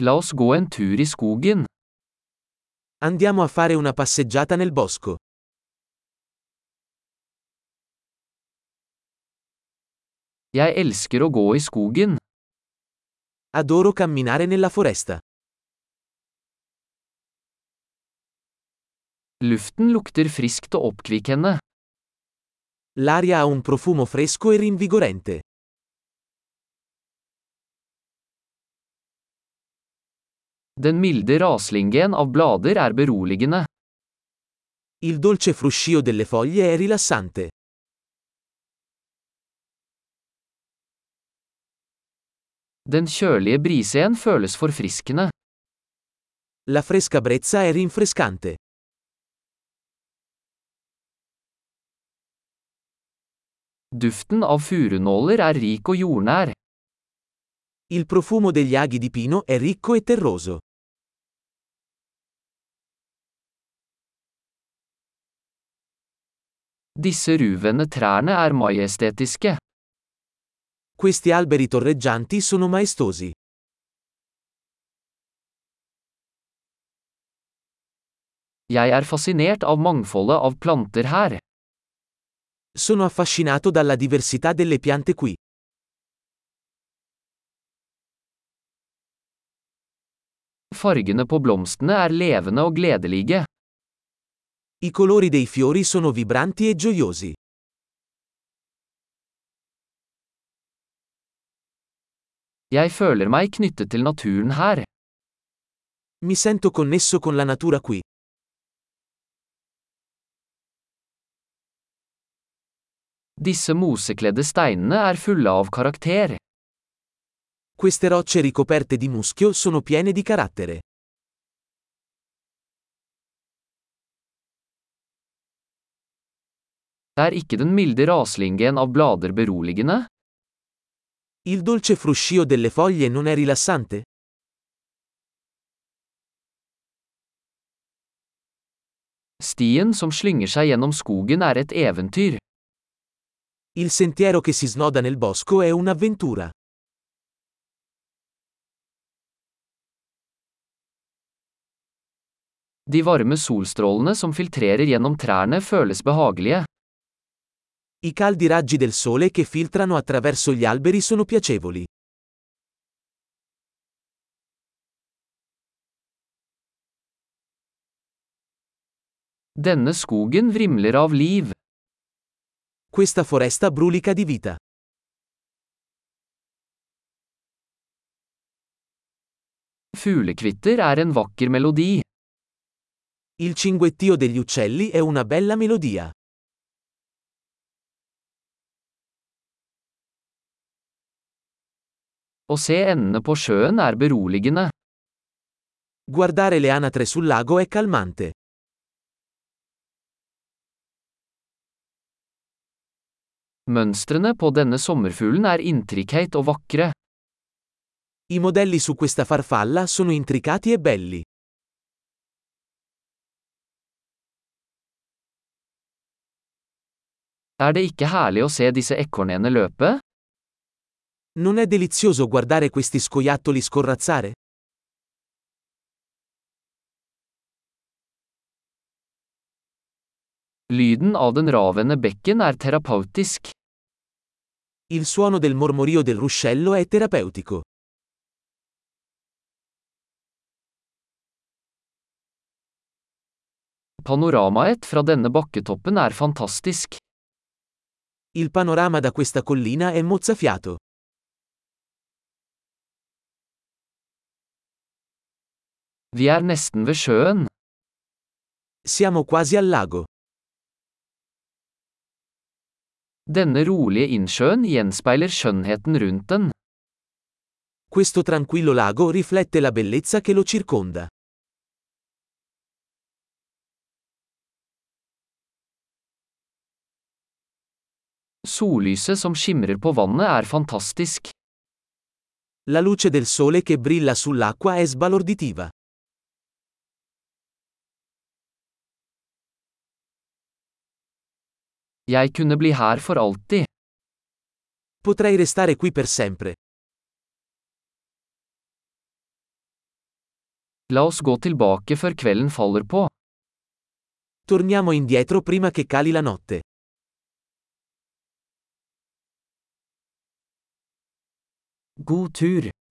La oss gå en tur i skogen. Andiamo a fare una passeggiata nel bosco. Jeg elsker å gå i skogen. Adoro camminare nella foresta. Luften lukter friskt og oppkvikkende. L'aria ha un profumo fresco e rinvigorente. Den milde raslingen av blader er beroligende. Il dolce fruscio delle foglie è rilassante. Den kjølige brisen føles forfriskende. La fresca brezza è rinfrescante. Duften av furunåler er rik og jordnær. Il profumo degli aghi di pino è ricco e terroso. Disse ruvende trærne er majestetiske. Questi alberi torreggianti sono maestosi. Jeg er fascinert av mangfoldet av planter her. Sono affascinato dalla diversità delle piante qui. Fargene på blomstene er levende og gledelige. I colori dei fiori sono vibranti e gioiosi. Jeg føler meg knyttet til naturen her. Mi sento connesso con la natura qui. Disse mosekledde steinene er fulle av karakter. Queste rocce ricoperte di muschio sono piene di carattere. Er ikke den milde raslingen av blader beroligende? Il dolce fruscio delle foglie non è rilassante? Stien som slynger seg gjennom skogen er et eventyr. Il sentiero che si snoda nel bosco è un'avventura. De varme solstrålene som filtrerer gjennom trærne føles behagelige. I caldi raggi del sole che filtrano attraverso gli alberi sono piacevoli. Denne skogen vrimler av liv. Questa foresta brulica di vita. Fuglekvitter er en vakker melodi. Il cinguettio degli uccelli è una bella melodia. Å se endene på sjøen er beroligende. Guardare le anatre sul lago è calmante. Mønstrene på denne sommerfuglen er intricate og vakre. I modelli su questa farfalla sono intricati e belli. Er det ikke herlig å se disse ekornene løpe? Non è delizioso guardare questi scoiattoli scorrazzare? Lyden av den ravende bekken er terapeutisk. Il suono del mormorio del ruscello è terapeutico. Panoramaet fra denne bakketoppen er fantastisk. Il panorama da questa collina è mozzafiato. Vi er nesten ved sjøen. Siamo quasi al lago. Denne rolige innsjøen gjenspeiler skjønnheten rundt den. Questo tranquillo lago riflette la bellezza che lo circonda. Sollyset som skimrer på vannet er fantastisk. La luce del sole che brilla sull'acqua è sbalorditiva. Jeg kunne bli her for alltid. Potrei restare qui per sempre. La oss gå tilbake før kvelden faller på. Torniamo indietro prima che cali la notte. God tur!